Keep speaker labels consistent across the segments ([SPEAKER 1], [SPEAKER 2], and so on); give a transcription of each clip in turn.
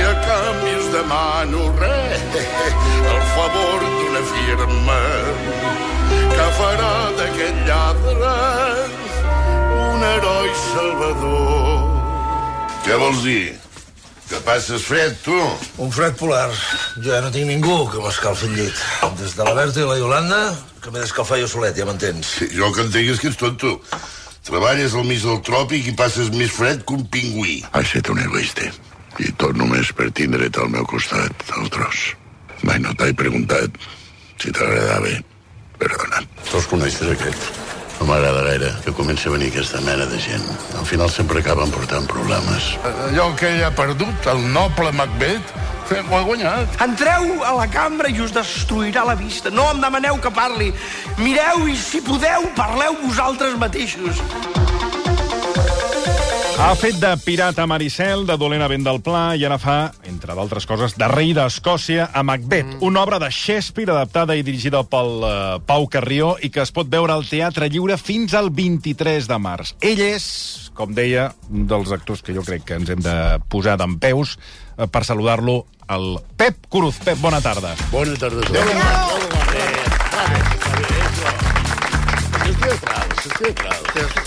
[SPEAKER 1] canvis demano res, el favor d'una firma que farà d'aquest lladre un heroi salvador. Què vols dir? Que passes fred, tu?
[SPEAKER 2] Un fred polar. Jo ja no tinc ningú que m'escalfi el llit. Des de la Berta i la Yolanda, que m'he d'escalfar jo solet, ja m'entens.
[SPEAKER 1] Sí, Eh, Jo el que entenc és que ets tonto. Treballes al mig del tròpic i passes més fred que un pingüí.
[SPEAKER 3] Has set un egoista. I tot només per tindre't al meu costat, el tros. Mai no t'he preguntat si t'agradava. Perdona.
[SPEAKER 4] Te'ls coneixes, aquests? No m'agrada gaire que comenci a venir aquesta mena de gent. Al final sempre acaben portant problemes.
[SPEAKER 1] Eh, Allò que ell ha perdut, el noble Macbeth, ho ha guanyat.
[SPEAKER 5] Entreu a la cambra i us destruirà la vista. No em demaneu que parli. Mireu i, si podeu, parleu vosaltres mateixos.
[SPEAKER 6] Ha fet de pirata Maricel, de dolent a vent del Pla, i ara fa, entre d'altres coses, de rei d'Escòcia a Macbeth, una obra de Shakespeare adaptada i dirigida pel uh, Pau Carrió i que es pot veure al Teatre Lliure fins al 23 de març. Ell és, com deia, un dels actors que jo crec que ens hem de posar d'en peus eh, per saludar-lo, el Pep Cruz. Pep, bona tarda.
[SPEAKER 4] Bona tarda a tots.
[SPEAKER 1] Ah,
[SPEAKER 4] S'estia clau, s'estia clau.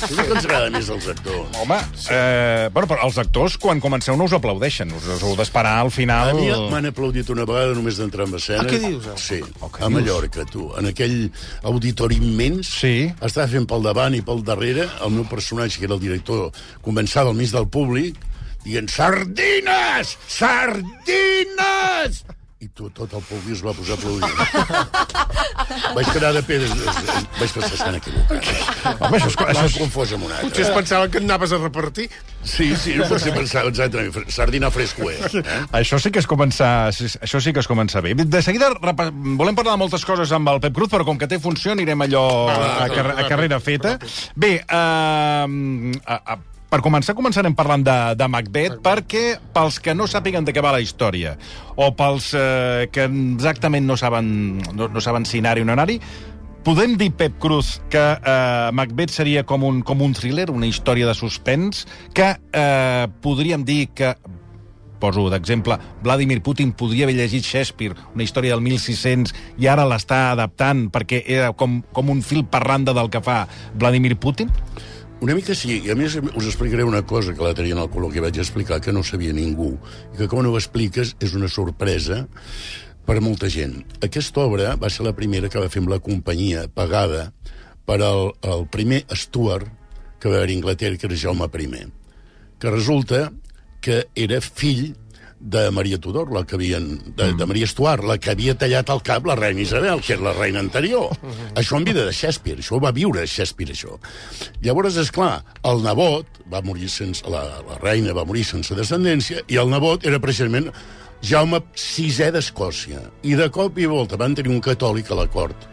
[SPEAKER 4] Segur que ens agrada més els actors.
[SPEAKER 6] Home, sí. eh, bueno, però els actors, quan comenceu, no us aplaudeixen. Us, us heu d'esperar al
[SPEAKER 4] A
[SPEAKER 6] final...
[SPEAKER 4] mi m'han aplaudit una vegada només d'entrar en escena.
[SPEAKER 5] Ah, què dius, ara?
[SPEAKER 4] Sí,
[SPEAKER 6] què
[SPEAKER 4] a
[SPEAKER 6] dius?
[SPEAKER 4] Mallorca, tu. En aquell auditori immens,
[SPEAKER 6] Sí.
[SPEAKER 4] estava fent pel davant i pel darrere, el meu personatge, que era el director, començava al mig del públic, dient, sardines! Sardines! I tu, tot el públic es va posar a aplaudir. vaig quedar de pedres. Vaig pensar, estan equivocats.
[SPEAKER 6] Home, això és, això
[SPEAKER 4] M'han
[SPEAKER 6] és
[SPEAKER 4] confós amb un altre.
[SPEAKER 7] Potser es pensava que anaves a repartir.
[SPEAKER 4] Sí, sí, potser pensava exactament. Sardina fresco, eh?
[SPEAKER 6] Això sí que és començar, sí, això sí que és començar bé. De seguida repa- volem parlar de moltes coses amb el Pep Cruz, però com que té funció anirem allò a, car a carrera feta. Bé, uh, a, a, per començar, començarem parlant de, de Macbeth, perquè pels que no sàpiguen de què va la història, o pels eh, que exactament no saben, no, no saben si anar-hi o no anar-hi, podem dir, Pep Cruz, que eh, Macbeth seria com un, com un thriller, una història de suspens, que eh, podríem dir que Poso d'exemple, Vladimir Putin podria haver llegit Shakespeare, una història del 1600, i ara l'està adaptant perquè era com, com un fil per randa del que fa Vladimir Putin?
[SPEAKER 4] Una mica sí, i a més us explicaré una cosa que l'altre dia en el col·loqui vaig explicar que no sabia ningú, i que quan ho expliques és una sorpresa per a molta gent. Aquesta obra va ser la primera que va fer amb la companyia pagada per al, al primer Stuart que va haver a Anglaterra, que era Jaume I, que resulta que era fill de Maria Tudor, la que havien, de, de Maria Estuard, la que havia tallat el cap la reina Isabel, que era la reina anterior. Això en vida de Shakespeare, això ho va viure Shakespeare, això. Llavors, és clar, el nebot va morir sense... La, la reina va morir sense descendència i el nebot era precisament Jaume VI d'Escòcia. I de cop i volta van tenir un catòlic a la cort,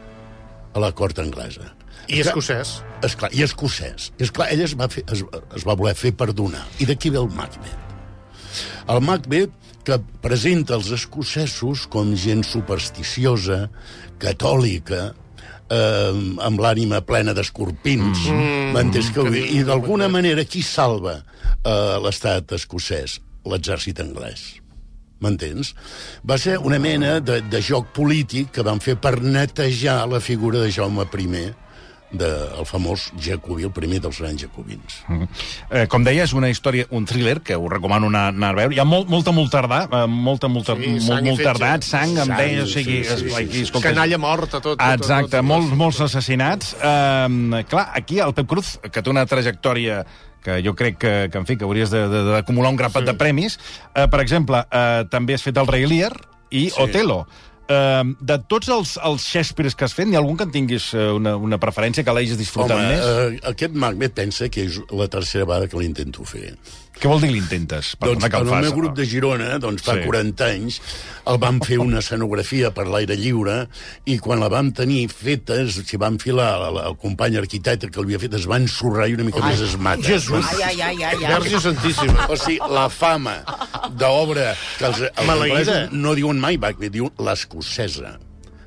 [SPEAKER 4] a la cort anglesa.
[SPEAKER 7] I escocès.
[SPEAKER 4] Esclar, i escocès. Esclar, ell es va, fer, es, es va voler fer perdonar. I d'aquí ve el Macbeth. El Macbeth que presenta els escocesos com gent supersticiosa, catòlica, eh, amb l'ànima plena d'escorpins, mm -hmm. que ho dic? I d'alguna manera qui salva eh, l'estat escocès? L'exèrcit anglès. M'entens? Va ser una mena de, de joc polític que van fer per netejar la figura de Jaume I, de, el famós Jacobí, el primer dels grans jacobins.
[SPEAKER 6] Eh, com deia, és una història, un thriller, que us recomano anar, anar a veure. Hi ha molt, molt, molt tardà, eh, molta, molta,
[SPEAKER 7] Sí,
[SPEAKER 6] sí, molt,
[SPEAKER 7] sang i
[SPEAKER 6] molt
[SPEAKER 7] fetge.
[SPEAKER 6] tardat, sang, em
[SPEAKER 4] Sang,
[SPEAKER 6] deia, o sigui...
[SPEAKER 4] sí, sí,
[SPEAKER 6] es-
[SPEAKER 4] sí, sí.
[SPEAKER 6] escolta,
[SPEAKER 7] Canalla morta, tot. tot,
[SPEAKER 6] Exacte,
[SPEAKER 7] tot, tot.
[SPEAKER 6] molts, molts assassinats. Um, clar, aquí el Pep Cruz, que té una trajectòria que jo crec que, que en fi, que hauries de- de- d'acumular un grapat sí. de premis. Uh, per exemple, uh, també has fet el Rei Lear i sí. Otelo. Uh, de tots els, els Shakespeares que has fet, n'hi ha algun que en tinguis eh, una, una preferència que l'hagis disfrutat
[SPEAKER 4] Home,
[SPEAKER 6] més?
[SPEAKER 4] eh, aquest Macbeth pensa que és la tercera vegada que l'intento fer.
[SPEAKER 6] Què vol dir l'intentes?
[SPEAKER 4] doncs,
[SPEAKER 6] Perdona que
[SPEAKER 4] en el
[SPEAKER 6] fas,
[SPEAKER 4] meu grup de Girona, doncs, fa
[SPEAKER 6] Sí.
[SPEAKER 4] sí. 40 anys, el vam fer una escenografia per l'aire lliure i quan la vam tenir feta, s'hi va enfilar la- la- el company arquitecte que l'havia fet, es va ensorrar i una mica més es mata.
[SPEAKER 7] Jesús.
[SPEAKER 8] Ai, ai, ai, ai, ai.
[SPEAKER 7] Verge Santíssima.
[SPEAKER 4] O sigui, la fama d'obra que els, els
[SPEAKER 7] Maleïda.
[SPEAKER 4] anglesos no diuen mai Macbeth, diu l'escocesa.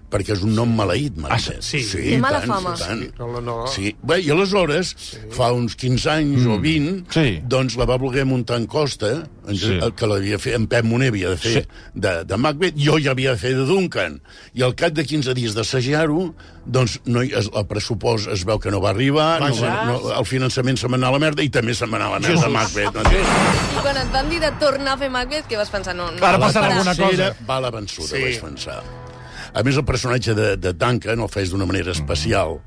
[SPEAKER 4] perquè és un nom maleït, Mariset.
[SPEAKER 7] sí.
[SPEAKER 4] sí
[SPEAKER 7] Té
[SPEAKER 4] i
[SPEAKER 8] mala
[SPEAKER 4] tant,
[SPEAKER 8] fama.
[SPEAKER 4] i tant.
[SPEAKER 7] No, no, no.
[SPEAKER 4] Sí. Bé, I aleshores, fa uns 15 anys o 20,
[SPEAKER 6] Sí.
[SPEAKER 4] doncs la va voler muntar en Costa, en,
[SPEAKER 6] Sí.
[SPEAKER 4] sí. que l'havia fet, en Pep Moner havia de fer
[SPEAKER 6] Sí.
[SPEAKER 4] de, de Macbeth, jo ja havia de fer de Duncan. I al cap de 15 dies d'assajar-ho, doncs no, hi- es, el pressupost es veu que no va arribar, no, va- no, el finançament se'n va anar a la merda i també se'n va anar a la merda Macbeth. No?
[SPEAKER 8] I quan et van dir de tornar a fer Macbeth, què vas pensar? No, no.
[SPEAKER 6] Ara passarà
[SPEAKER 8] Ara.
[SPEAKER 6] alguna
[SPEAKER 4] tercera
[SPEAKER 6] cosa.
[SPEAKER 4] Va a la vençuda,
[SPEAKER 7] Sí.
[SPEAKER 4] sí. vaig pensar. A més, el personatge de, de Duncan el fes d'una
[SPEAKER 6] Mhm.
[SPEAKER 4] manera especial,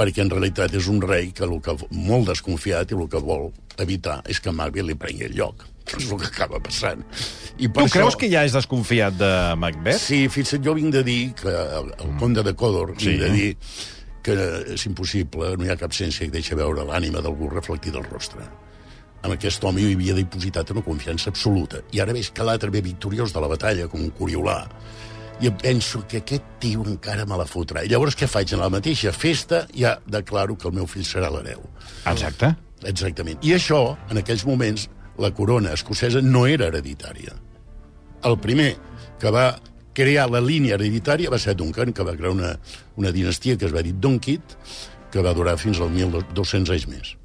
[SPEAKER 4] perquè en realitat és un rei que, el que molt desconfiat i el que vol evitar és que Macbeth li prengui el lloc. Que és el que acaba passant. I
[SPEAKER 6] Tu creus que ja és desconfiat de Macbeth?
[SPEAKER 4] Sí, fins i tot jo vinc de dir que el, el conde de Codor sí. vinc de dir que és impossible, no hi ha cap ciència que deixa veure l'ànima d'algú reflectida al rostre. En aquest home jo hi havia depositat una confiança absoluta. I ara veig que l'altre ve victoriós de la batalla, com un coriolà. I em penso que aquest tio encara me la fotrà. I llavors què faig? En la mateixa festa ja declaro que el meu fill serà l'hereu.
[SPEAKER 6] Exacte.
[SPEAKER 4] Exactament. I això, en aquells moments, la corona escocesa no era hereditària. El primer que va crear la línia hereditària va ser Duncan, que va crear una, una dinastia que es va dir Donkit, que va durar fins al 1.200 anys més.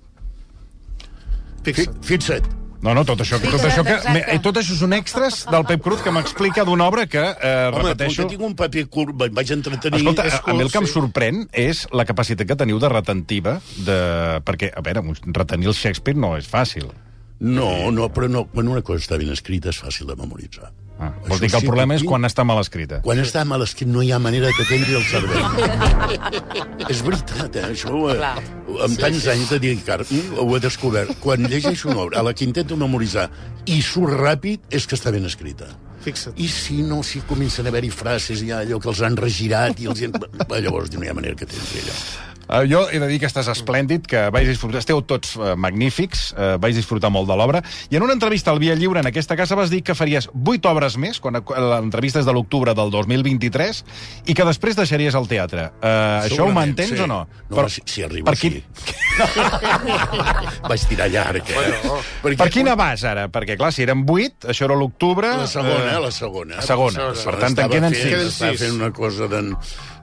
[SPEAKER 4] Fi-
[SPEAKER 7] Fixa't.
[SPEAKER 4] Fixa't.
[SPEAKER 6] No, no, tot això, tot
[SPEAKER 8] Fixa't,
[SPEAKER 6] això, que,
[SPEAKER 8] exacte.
[SPEAKER 6] eh, tot això són extras del Pep Cruz que m'explica d'una obra que, eh,
[SPEAKER 4] Home,
[SPEAKER 6] repeteixo...
[SPEAKER 4] com que tinc un paper curt, me'n vaig entretenir...
[SPEAKER 6] Escolta,
[SPEAKER 7] és
[SPEAKER 6] a, a mi el
[SPEAKER 7] curt,
[SPEAKER 6] que em
[SPEAKER 7] sí.
[SPEAKER 6] sorprèn és la capacitat que teniu de retentiva, de... perquè, a veure, retenir el Shakespeare no és fàcil.
[SPEAKER 4] No, no, però no, quan una cosa està ben escrita és fàcil de memoritzar.
[SPEAKER 6] Ah,
[SPEAKER 4] Això
[SPEAKER 6] vol dir que el
[SPEAKER 4] sí
[SPEAKER 6] problema
[SPEAKER 4] que
[SPEAKER 6] és
[SPEAKER 4] tinc.
[SPEAKER 6] quan està mal escrita.
[SPEAKER 4] Quan està mal escrit no hi ha manera que t'entri al cervell. és veritat, eh? això ho,
[SPEAKER 9] Clar.
[SPEAKER 4] amb tants anys de dedicar mm, ho he descobert. Quan llegeixo una obra a la que intento memoritzar i surt ràpid, és que està ben escrita.
[SPEAKER 7] Fixa't.
[SPEAKER 4] I si no, si comencen a haver-hi frases, hi ha allò que els han regirat i els... hi han- Bé, Llavors no hi ha manera que t'entri allò.
[SPEAKER 6] Eh, jo he de dir que estàs esplèndid, que vais disfrutar, esteu tots eh, magnífics, eh, vais disfrutar molt de l'obra, i en una entrevista al Via Lliure en aquesta casa vas dir que faries vuit obres més, quan l'entrevista és de l'octubre del 2023, i que després deixaries el teatre. Eh, això ho
[SPEAKER 4] Segurament,
[SPEAKER 6] mantens
[SPEAKER 4] sí.
[SPEAKER 6] o no?
[SPEAKER 4] No, si- si arribo,
[SPEAKER 6] per quin,
[SPEAKER 4] sí. Vaig tirar llarg, eh? Bueno, perquè...
[SPEAKER 6] Per quina vas, ara? Perquè, clar, si eren vuit, això era l'octubre...
[SPEAKER 4] La segona,
[SPEAKER 6] eh,
[SPEAKER 4] la segona.
[SPEAKER 6] la segona.
[SPEAKER 7] Per
[SPEAKER 6] tant, en
[SPEAKER 4] Estava
[SPEAKER 6] queden
[SPEAKER 4] fent-
[SPEAKER 6] sis.
[SPEAKER 7] Queden
[SPEAKER 4] Estava
[SPEAKER 7] sis.
[SPEAKER 4] fent una cosa d'en...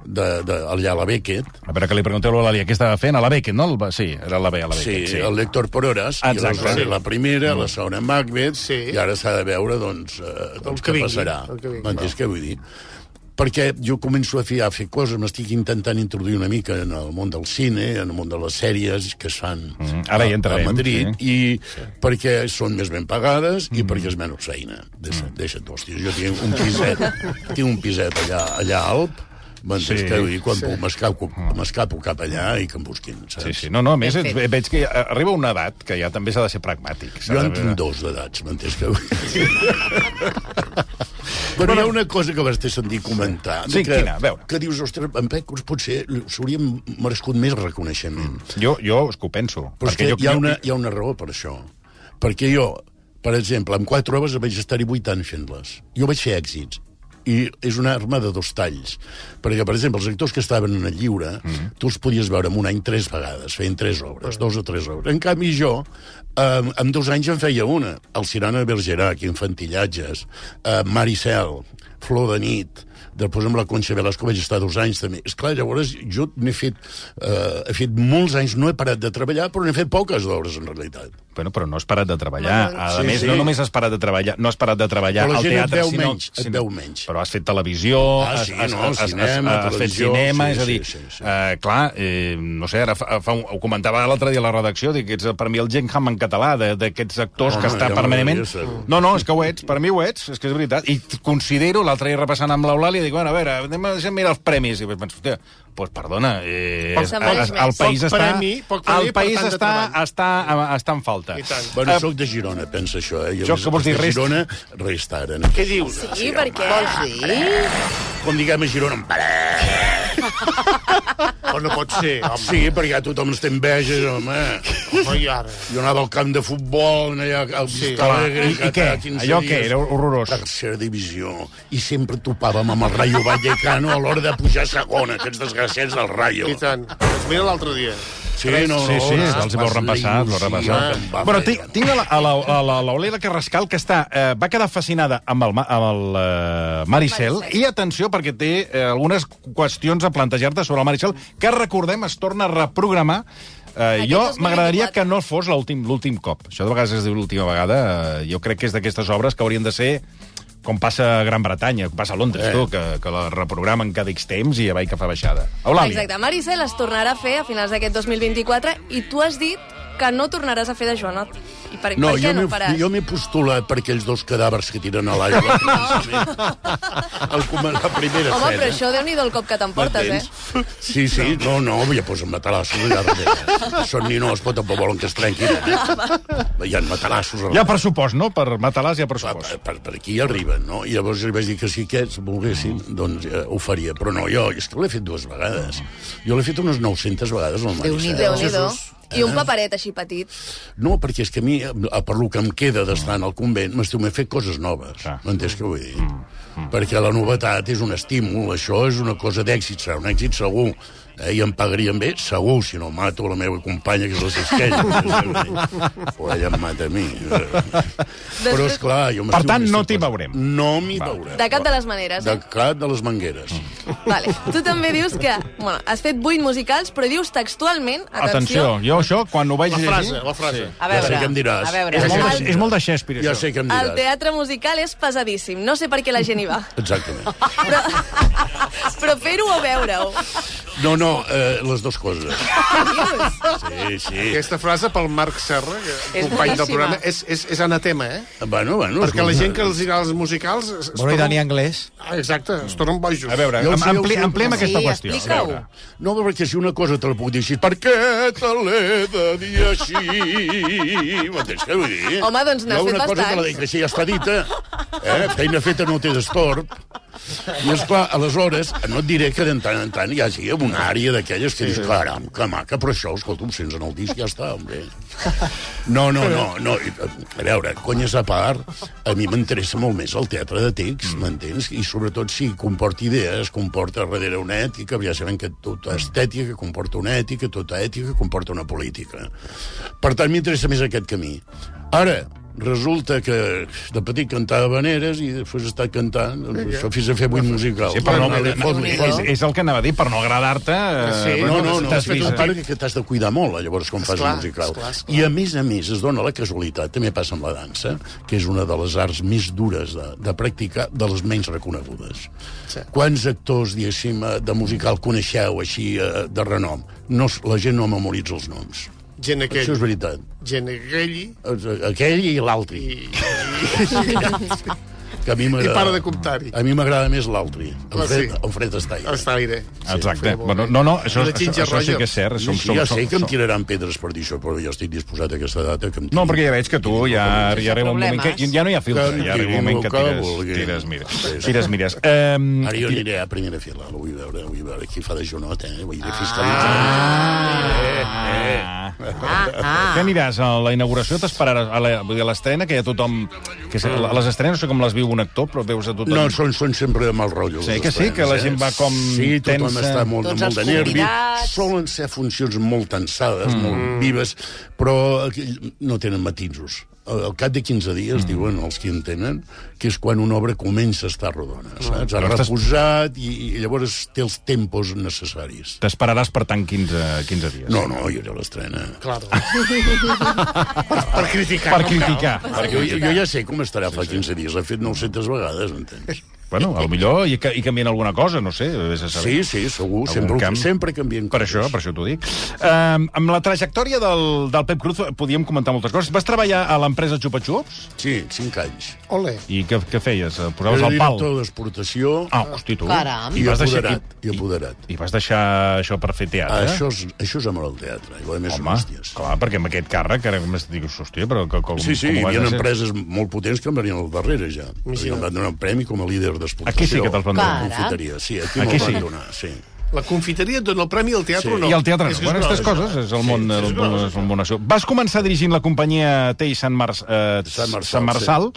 [SPEAKER 4] De, de, allà a la Beckett,
[SPEAKER 6] A veure, que li pregunteu a l'Elia què estava fent, a la Beckett, no? El... va- Sí, era la B, a la
[SPEAKER 4] Sí,
[SPEAKER 6] Beckett, sí.
[SPEAKER 4] el lector per hores,
[SPEAKER 6] Exacte.
[SPEAKER 4] i aleshores
[SPEAKER 6] Sí. Mm.
[SPEAKER 4] la primera, la segona Macbeth,
[SPEAKER 7] Sí.
[SPEAKER 4] i ara s'ha de veure doncs, eh, doncs
[SPEAKER 7] que
[SPEAKER 4] què
[SPEAKER 7] vingui,
[SPEAKER 4] passarà.
[SPEAKER 7] el que vingui.
[SPEAKER 4] M'entens què vull dir? Perquè jo començo a fer, a fer coses, m'estic intentant introduir una mica en el món del cine, en el món de les sèries que es fan
[SPEAKER 6] Mhm. Ara hi
[SPEAKER 4] a-
[SPEAKER 6] entrarem,
[SPEAKER 4] a Madrid, i perquè són més ben pagades
[SPEAKER 6] Mm.
[SPEAKER 4] i perquè és menys feina. Deixa, Deixa't, hòstia, jo tinc un piset, tinc un piset allà, allà a Alp, m'entens
[SPEAKER 6] Sí. Mm.
[SPEAKER 4] sí, què vull dir? Quan sí. puc, m'escapo, m'escapo cap allà i que em busquin, saps?
[SPEAKER 6] Sí, sí. No, no, a més,
[SPEAKER 8] Ben
[SPEAKER 6] et,
[SPEAKER 8] fet.
[SPEAKER 6] veig que eh, arriba una edat que ja també s'ha de ser pragmàtic. s'ha
[SPEAKER 4] Jo en
[SPEAKER 6] de-
[SPEAKER 4] tinc dos d'edats, m'entens que... Però hi ha una cosa que vas té sentit comentar. de
[SPEAKER 6] Sí,
[SPEAKER 4] que,
[SPEAKER 6] quina? A veure.
[SPEAKER 4] Que dius, ostres, en Pecos potser s'hauríem merescut més reconeixement.
[SPEAKER 6] Jo, jo és que ho penso.
[SPEAKER 4] Però és que
[SPEAKER 6] jo,
[SPEAKER 4] hi ha, una, hi ha una raó per això. Perquè jo, per exemple, amb quatre obres vaig estar-hi vuit anys fent-les. Jo vaig fer èxits. I és una arma de dos talls. Perquè, per exemple, els actors que estaven en el lliure, mm -hmm. tu els podies veure en un any tres vegades, feien tres obres, dos o tres obres. En canvi, jo, eh, en dos anys en feia una. El Cirana Bergerac, Infantillatges, eh, Maricel, Flor de nit, després amb la Concha Velasco vaig estar dos anys també. És clar, llavors jo n'he fet, eh, he fet molts anys, no he parat de treballar, però n'he fet poques d'obres en realitat.
[SPEAKER 6] Bueno, però no has parat de treballar.
[SPEAKER 8] Bueno,
[SPEAKER 6] A
[SPEAKER 4] sí,
[SPEAKER 6] més,
[SPEAKER 4] sí.
[SPEAKER 6] no només has parat de treballar, no has parat de treballar
[SPEAKER 4] Però la
[SPEAKER 6] al
[SPEAKER 4] gent et
[SPEAKER 6] teatre,
[SPEAKER 4] veu
[SPEAKER 6] sinó...
[SPEAKER 4] menys, et veu menys.
[SPEAKER 6] Però has fet televisió,
[SPEAKER 4] Ah,
[SPEAKER 6] has,
[SPEAKER 4] sí,
[SPEAKER 6] has,
[SPEAKER 4] no,
[SPEAKER 6] has, has,
[SPEAKER 4] cinema,
[SPEAKER 6] has, has fet
[SPEAKER 4] televisió,
[SPEAKER 6] cinema,
[SPEAKER 4] sí,
[SPEAKER 6] és a dir,
[SPEAKER 4] sí, sí, sí.
[SPEAKER 6] Eh, clar, eh, no sé, ara fa, fa un, ho comentava l'altre dia a la redacció, dic que ets per mi el Gen Ham en català, de- d'aquests actors
[SPEAKER 4] Home,
[SPEAKER 6] que està
[SPEAKER 4] ja
[SPEAKER 6] permanentment...
[SPEAKER 4] m'agradaria ser-ho.
[SPEAKER 6] No, no, és que ho ets, per mi ho ets, és que és veritat. I t- considero, l'altre dia repassant amb l'Eulàlia, dic, bueno, a veure, anem a deixa'm mirar els premis. I penso, hòstia, doncs perdona, eh,
[SPEAKER 8] Poc
[SPEAKER 6] el,
[SPEAKER 8] premi.
[SPEAKER 6] el, el país
[SPEAKER 7] Poc
[SPEAKER 6] està,
[SPEAKER 7] premi, poc premi,
[SPEAKER 6] el
[SPEAKER 7] per
[SPEAKER 6] país
[SPEAKER 7] tant de
[SPEAKER 6] està,
[SPEAKER 7] treball.
[SPEAKER 6] està, eh, està en falta.
[SPEAKER 7] I tant.
[SPEAKER 4] Bueno,
[SPEAKER 6] Eh,
[SPEAKER 4] sóc de Girona, pensa això, eh? I
[SPEAKER 6] Això
[SPEAKER 4] a més,
[SPEAKER 6] que vols dir,
[SPEAKER 4] els de
[SPEAKER 6] rest-
[SPEAKER 4] Girona, resta ara. no?
[SPEAKER 7] Què dius?
[SPEAKER 8] Sí, per què?
[SPEAKER 4] Com diguem a Girona, un parell.
[SPEAKER 7] O no pot ser, home.
[SPEAKER 4] Sí, perquè ja tothom es té enveges, home.
[SPEAKER 7] Home, i ara?
[SPEAKER 4] Jo anava al camp de futbol, anava al sí, Vistalegre...
[SPEAKER 6] I- i què? Allò què? Era horrorós.
[SPEAKER 4] Tercera divisió. I sempre topàvem amb el Rayo Vallecano a l'hora de pujar a segona, aquests desgraciats del Rayo.
[SPEAKER 7] I tant. Es mira l'altre dia.
[SPEAKER 4] Sí, no, no,
[SPEAKER 6] Sí, sí,
[SPEAKER 4] les-
[SPEAKER 6] els hi veuran
[SPEAKER 4] la
[SPEAKER 6] passar, els veuran
[SPEAKER 4] il·lusió
[SPEAKER 6] passar.
[SPEAKER 4] que em va
[SPEAKER 6] Bueno,
[SPEAKER 4] fer.
[SPEAKER 6] tinc, tinc a la- a la- a la- l'Oleda Carrascal, que està, eh, va quedar fascinada amb el, Ma- amb el eh, Maricel,
[SPEAKER 8] Maricel.
[SPEAKER 6] i atenció, perquè té eh, algunes qüestions a plantejar-te sobre el Maricel, que recordem es torna a reprogramar Eh,
[SPEAKER 8] Aquest
[SPEAKER 6] jo
[SPEAKER 8] 2024.
[SPEAKER 6] m'agradaria que no fos l'últim l'últim cop. Això de vegades es diu l'última vegada. Eh, jo crec que és d'aquestes obres que haurien de ser com passa a Gran Bretanya, com passa a Londres, eh. tu, que, que la reprogramen cada X temps i avall que fa baixada. Eulàlia.
[SPEAKER 8] Exacte, Maricel es tornarà a fer a finals d'aquest 2024 i tu has dit que no tornaràs a fer de Joanot. I per,
[SPEAKER 4] No,
[SPEAKER 8] per
[SPEAKER 4] jo
[SPEAKER 8] què no
[SPEAKER 4] m'he-
[SPEAKER 8] faràs?
[SPEAKER 4] jo m'he postulat per aquells dos cadàvers que tiren a l'aigua. al començament. Al comen- la primera
[SPEAKER 8] Home,
[SPEAKER 4] escena.
[SPEAKER 8] però això déu nhi el cop que t'emportes, eh?
[SPEAKER 4] Entens? Sí, sí, no, no, ja posen matalassos allà darrere. Són ninós, però tampoc volen que es trenquin. Eh? Hi ha matalassos.
[SPEAKER 6] Hi ha pressupost, no? Per matar-les hi ha pressupost.
[SPEAKER 4] per, per, per aquí arriben, no? I llavors li vaig dir que si aquests volguessin, doncs eh, ho faria. Però no, jo, és que l'he fet dues vegades. Jo l'he fet unes 900 vegades al Maricel.
[SPEAKER 8] déu nhi I un paperet així petit.
[SPEAKER 4] No, perquè és que a mi, a per lo que em queda d'estar en el convent, m'estiu, m'he fet coses noves.
[SPEAKER 6] Clar.
[SPEAKER 4] M'entens què vull dir?
[SPEAKER 6] Mm,
[SPEAKER 4] Perquè la novetat és un estímul, això és una cosa d'èxit, serà un èxit segur. Eh, I em pagarien bé, segur, si no mato la meva companya, que és la Sisquella. o ella em mata a mi. Però, esclar, jo m'estiu...
[SPEAKER 6] Per tant, no
[SPEAKER 4] m'estiu
[SPEAKER 6] t'hi
[SPEAKER 4] pas-
[SPEAKER 6] veurem.
[SPEAKER 4] No m'hi veurem.
[SPEAKER 8] De cap de les maneres, eh?
[SPEAKER 4] De cap de les mangueres.
[SPEAKER 8] Vale. Tu també dius que... Bueno, has fet vuit musicals, però dius textualment...
[SPEAKER 6] Atenció,
[SPEAKER 8] Atenció.
[SPEAKER 6] jo això, quan ho vaig
[SPEAKER 7] La frase,
[SPEAKER 6] llegir...
[SPEAKER 7] la frase.
[SPEAKER 9] A
[SPEAKER 4] Ja
[SPEAKER 9] veure,
[SPEAKER 4] sé què em diràs.
[SPEAKER 9] a veure.
[SPEAKER 6] És molt,
[SPEAKER 8] El-
[SPEAKER 6] de, és molt de Shakespeare,
[SPEAKER 4] Ja
[SPEAKER 6] això.
[SPEAKER 4] sé que em
[SPEAKER 8] El
[SPEAKER 4] diràs.
[SPEAKER 8] teatre musical és pesadíssim. No sé per què la gent hi va.
[SPEAKER 4] Exactament.
[SPEAKER 8] Però, però fer-ho o veure-ho.
[SPEAKER 4] No, no, eh, les dues coses. Sí, sí.
[SPEAKER 7] Aquesta frase pel Marc Serra, que és company del
[SPEAKER 9] boníssima.
[SPEAKER 7] programa, és, és, és anatema, eh?
[SPEAKER 4] Bueno, bueno,
[SPEAKER 7] Perquè la
[SPEAKER 4] escolta.
[SPEAKER 7] gent que els agrada els musicals... es- es
[SPEAKER 9] Bueno, i
[SPEAKER 7] tornen-
[SPEAKER 9] Dani Anglès?
[SPEAKER 7] Ah, exacte, es tornen bojos.
[SPEAKER 6] A veure, eh?
[SPEAKER 4] Jo
[SPEAKER 6] am,
[SPEAKER 4] sé, jo
[SPEAKER 6] ampli,
[SPEAKER 4] sé.
[SPEAKER 6] ampliem aquesta
[SPEAKER 9] Sí,
[SPEAKER 6] qüestió.
[SPEAKER 9] explica-ho.
[SPEAKER 6] A veure.
[SPEAKER 4] No, perquè si una cosa te la puc dir així, per què te l'he de dir així? M'entens què vull dir?
[SPEAKER 8] Home, doncs n'has
[SPEAKER 4] Jo
[SPEAKER 8] fet
[SPEAKER 4] una cosa te
[SPEAKER 8] bastants.
[SPEAKER 4] la dic així, ja està dita. Eh? Feina feta no té destorb. I, esclar, aleshores, no et diré que de tant en tant hi hagi una àrea d'aquelles que sí, dius, caram, que maca, però això, escolta, ho sents en el disc, ja està, hombre. No, no, no, no. i, eh, A veure, conyes a part, a mi m'interessa molt més el teatre de text, m'entens? I sobretot si comporta idees, comporta darrere una ètica, ja sabem que tota estètica comporta una ètica, tota ètica comporta una política. Per tant, m'interessa més aquest camí. Ara, resulta que de petit cantava veneres i després he estat cantant, doncs, això fins a fer vuit musicals.
[SPEAKER 6] Sí, però no,
[SPEAKER 4] Vale,
[SPEAKER 6] no,
[SPEAKER 4] fot-li,
[SPEAKER 6] és,
[SPEAKER 4] fot-li.
[SPEAKER 6] és el que anava a dir, per no agradar-te...
[SPEAKER 7] Sí,
[SPEAKER 6] eh,
[SPEAKER 4] No, no, no,
[SPEAKER 6] t'has
[SPEAKER 4] sí,
[SPEAKER 6] vist-
[SPEAKER 4] a part que t'has de cuidar molt, eh, llavors, quan fas
[SPEAKER 7] Esclar,
[SPEAKER 4] un musical.
[SPEAKER 7] esclar, esclar.
[SPEAKER 4] I, a més a més, es dona la casualitat, també passa amb la dansa, que és una de les arts més dures de, de practicar, de les menys reconegudes.
[SPEAKER 7] Sí.
[SPEAKER 4] Quants actors, diguéssim, eh, de musical coneixeu així eh, de renom? No, s- la gent no memoritza els noms.
[SPEAKER 7] Gent aquell,
[SPEAKER 4] Això és veritat.
[SPEAKER 7] gent aquell,
[SPEAKER 4] Eh, Aquell i l'altre.
[SPEAKER 7] i,
[SPEAKER 4] Que a mi m'agrada-
[SPEAKER 7] i para de
[SPEAKER 6] Eh.
[SPEAKER 7] comptar-hi.
[SPEAKER 4] A mi m'agrada més l'altre,
[SPEAKER 7] Ah,
[SPEAKER 4] el, Fred,
[SPEAKER 7] sí.
[SPEAKER 4] el Fred Estaire.
[SPEAKER 7] Està aire.
[SPEAKER 6] Exacte. Bueno, no, no, això,
[SPEAKER 7] I la
[SPEAKER 6] això,
[SPEAKER 7] Ginger
[SPEAKER 6] això sí
[SPEAKER 7] Rogers.
[SPEAKER 6] que és cert. Som,
[SPEAKER 4] Sí,
[SPEAKER 6] som,
[SPEAKER 4] ja
[SPEAKER 6] som,
[SPEAKER 4] sé que em
[SPEAKER 6] som.
[SPEAKER 4] tiraran pedres per dir això, però jo estic disposat a aquesta data que em tirin.
[SPEAKER 6] No, perquè ja veig que tu ja, ja arriba un moment que
[SPEAKER 9] Problemes.
[SPEAKER 6] ja no hi ha filtre,
[SPEAKER 4] Que
[SPEAKER 6] ja arriba un moment que
[SPEAKER 4] que
[SPEAKER 6] tires,
[SPEAKER 4] vulgui.
[SPEAKER 6] tires, mires. Tires, mires. Um,
[SPEAKER 4] Ara jo aniré a primera fila, ho vull veure, ho vull veure qui fa de Jonot, eh? Vull
[SPEAKER 6] Ah.
[SPEAKER 4] dir, fiscalitzar.
[SPEAKER 9] Ah, ah.
[SPEAKER 6] Què aniràs? A la inauguració t'esperaràs a la- vull dir, a l'estrena, que ja tothom... Que se, a les estrenes no sé com les viu un actor, però veus a tothom...
[SPEAKER 4] No, són, són sempre de mal rotllo.
[SPEAKER 6] Sí,
[SPEAKER 4] les
[SPEAKER 6] que sí, que la
[SPEAKER 4] estrenes,
[SPEAKER 6] gent va com
[SPEAKER 4] Sí, tothom
[SPEAKER 6] tensa.
[SPEAKER 4] està molt,
[SPEAKER 9] Tots
[SPEAKER 4] molt de
[SPEAKER 9] els
[SPEAKER 4] nervi.
[SPEAKER 9] convidats.
[SPEAKER 4] Solen ser funcions molt tensades,
[SPEAKER 6] Mm.
[SPEAKER 4] molt vives, però aquell- no tenen matisos. Al cap de 15
[SPEAKER 6] Mm.
[SPEAKER 4] dies, diuen els que en tenen, que és quan una obra comença a estar rodona, saps? Ha
[SPEAKER 6] Però estàs-
[SPEAKER 4] reposat i, i llavors té els tempos necessaris.
[SPEAKER 6] T'esperaràs, per tant, 15, 15 dies.
[SPEAKER 4] No, no, jo ja l'estrena.
[SPEAKER 7] Claro. per, per criticar.
[SPEAKER 6] Per
[SPEAKER 7] no cal.
[SPEAKER 6] criticar.
[SPEAKER 4] Perquè jo, jo ja sé com estarà fa 15 dies, l'he fet 900 vegades, entens?
[SPEAKER 6] Bueno, a lo millor hi, ca- hi canvien alguna cosa, no sé, vés a
[SPEAKER 4] Sí,
[SPEAKER 6] saber.
[SPEAKER 4] sí, segur,
[SPEAKER 6] Algun
[SPEAKER 4] sempre,
[SPEAKER 6] camp?
[SPEAKER 4] camp... sempre canvien
[SPEAKER 6] Per això, per això t'ho dic. Um, amb la trajectòria del, del Pep Cruz podíem comentar moltes coses. Vas treballar a l'empresa Chupa Chups?
[SPEAKER 4] Sí, 5 anys.
[SPEAKER 7] Ole.
[SPEAKER 6] I què, què feies? Eh,
[SPEAKER 4] Era
[SPEAKER 6] Posaves el pal?
[SPEAKER 4] director d'exportació
[SPEAKER 6] Ah, hosti, tu.
[SPEAKER 9] Caram.
[SPEAKER 4] i,
[SPEAKER 6] vas deixar,
[SPEAKER 4] apoderat,
[SPEAKER 6] i,
[SPEAKER 4] i, apoderat. Ah,
[SPEAKER 6] I vas deixar això per fer teatre?
[SPEAKER 4] Això, és, això és amor al teatre, i la més són
[SPEAKER 6] Home,
[SPEAKER 4] hòsties.
[SPEAKER 6] clar, perquè amb aquest càrrec, ara més digues, hòstia, però que- com,
[SPEAKER 4] Sí, sí,
[SPEAKER 6] com
[SPEAKER 4] hi
[SPEAKER 6] ho vas
[SPEAKER 4] havia
[SPEAKER 6] deixar?
[SPEAKER 4] empreses molt potents que em venien al darrere ja. Perquè em van donar un premi com a líder d'exportació.
[SPEAKER 6] Aquí sí que te'ls van donar.
[SPEAKER 9] Caram.
[SPEAKER 4] Confiteria, sí, aquí
[SPEAKER 6] Aquí
[SPEAKER 4] me'l
[SPEAKER 6] sí.
[SPEAKER 4] van donar, sí.
[SPEAKER 7] La confiteria et dona el premi al teatre
[SPEAKER 4] Sí.
[SPEAKER 7] o no?
[SPEAKER 6] I el teatre, no.
[SPEAKER 7] que
[SPEAKER 6] bueno,
[SPEAKER 7] gros,
[SPEAKER 6] aquestes coses, és el món,
[SPEAKER 7] Sí,
[SPEAKER 6] el,
[SPEAKER 7] és
[SPEAKER 6] món-
[SPEAKER 7] gros,
[SPEAKER 6] és el món això. Vas començar dirigint la companyia Tei Sant, Mar eh,
[SPEAKER 4] Sant Marçal,
[SPEAKER 6] Sant Marçal.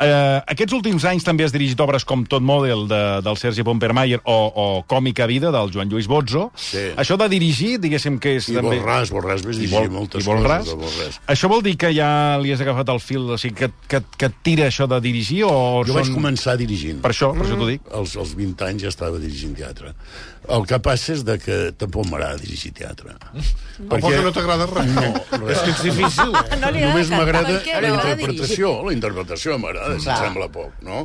[SPEAKER 6] Eh, aquests últims anys també has dirigit obres com Tot Model de, del Sergi Pompermayer o, o Còmica Vida del Joan Lluís Bozzo.
[SPEAKER 4] Sí.
[SPEAKER 6] Això de dirigir, diguéssim que és
[SPEAKER 4] I
[SPEAKER 6] també...
[SPEAKER 4] Borràs, Borràs, vas
[SPEAKER 6] I,
[SPEAKER 4] dirigir
[SPEAKER 6] vol,
[SPEAKER 4] moltes
[SPEAKER 6] i Borràs.
[SPEAKER 4] coses de Borràs.
[SPEAKER 6] Això vol dir que ja li has agafat el fil, o sigui, que, que, que et tira això de dirigir o
[SPEAKER 4] Jo
[SPEAKER 6] són...
[SPEAKER 4] vaig començar dirigint.
[SPEAKER 6] Per això, per això t'ho dic.
[SPEAKER 4] als, als 20 anys ja estava dirigint teatre. El que passa és de que tampoc m'agrada dirigir teatre.
[SPEAKER 7] Tampoc no t'agrada res. No.
[SPEAKER 4] És que és difícil.
[SPEAKER 8] No li agrada
[SPEAKER 4] Només
[SPEAKER 8] cantar,
[SPEAKER 4] m'agrada
[SPEAKER 8] per què?
[SPEAKER 4] la
[SPEAKER 8] M'agrada
[SPEAKER 4] interpretació. La interpretació m'agrada, si et sembla poc, no?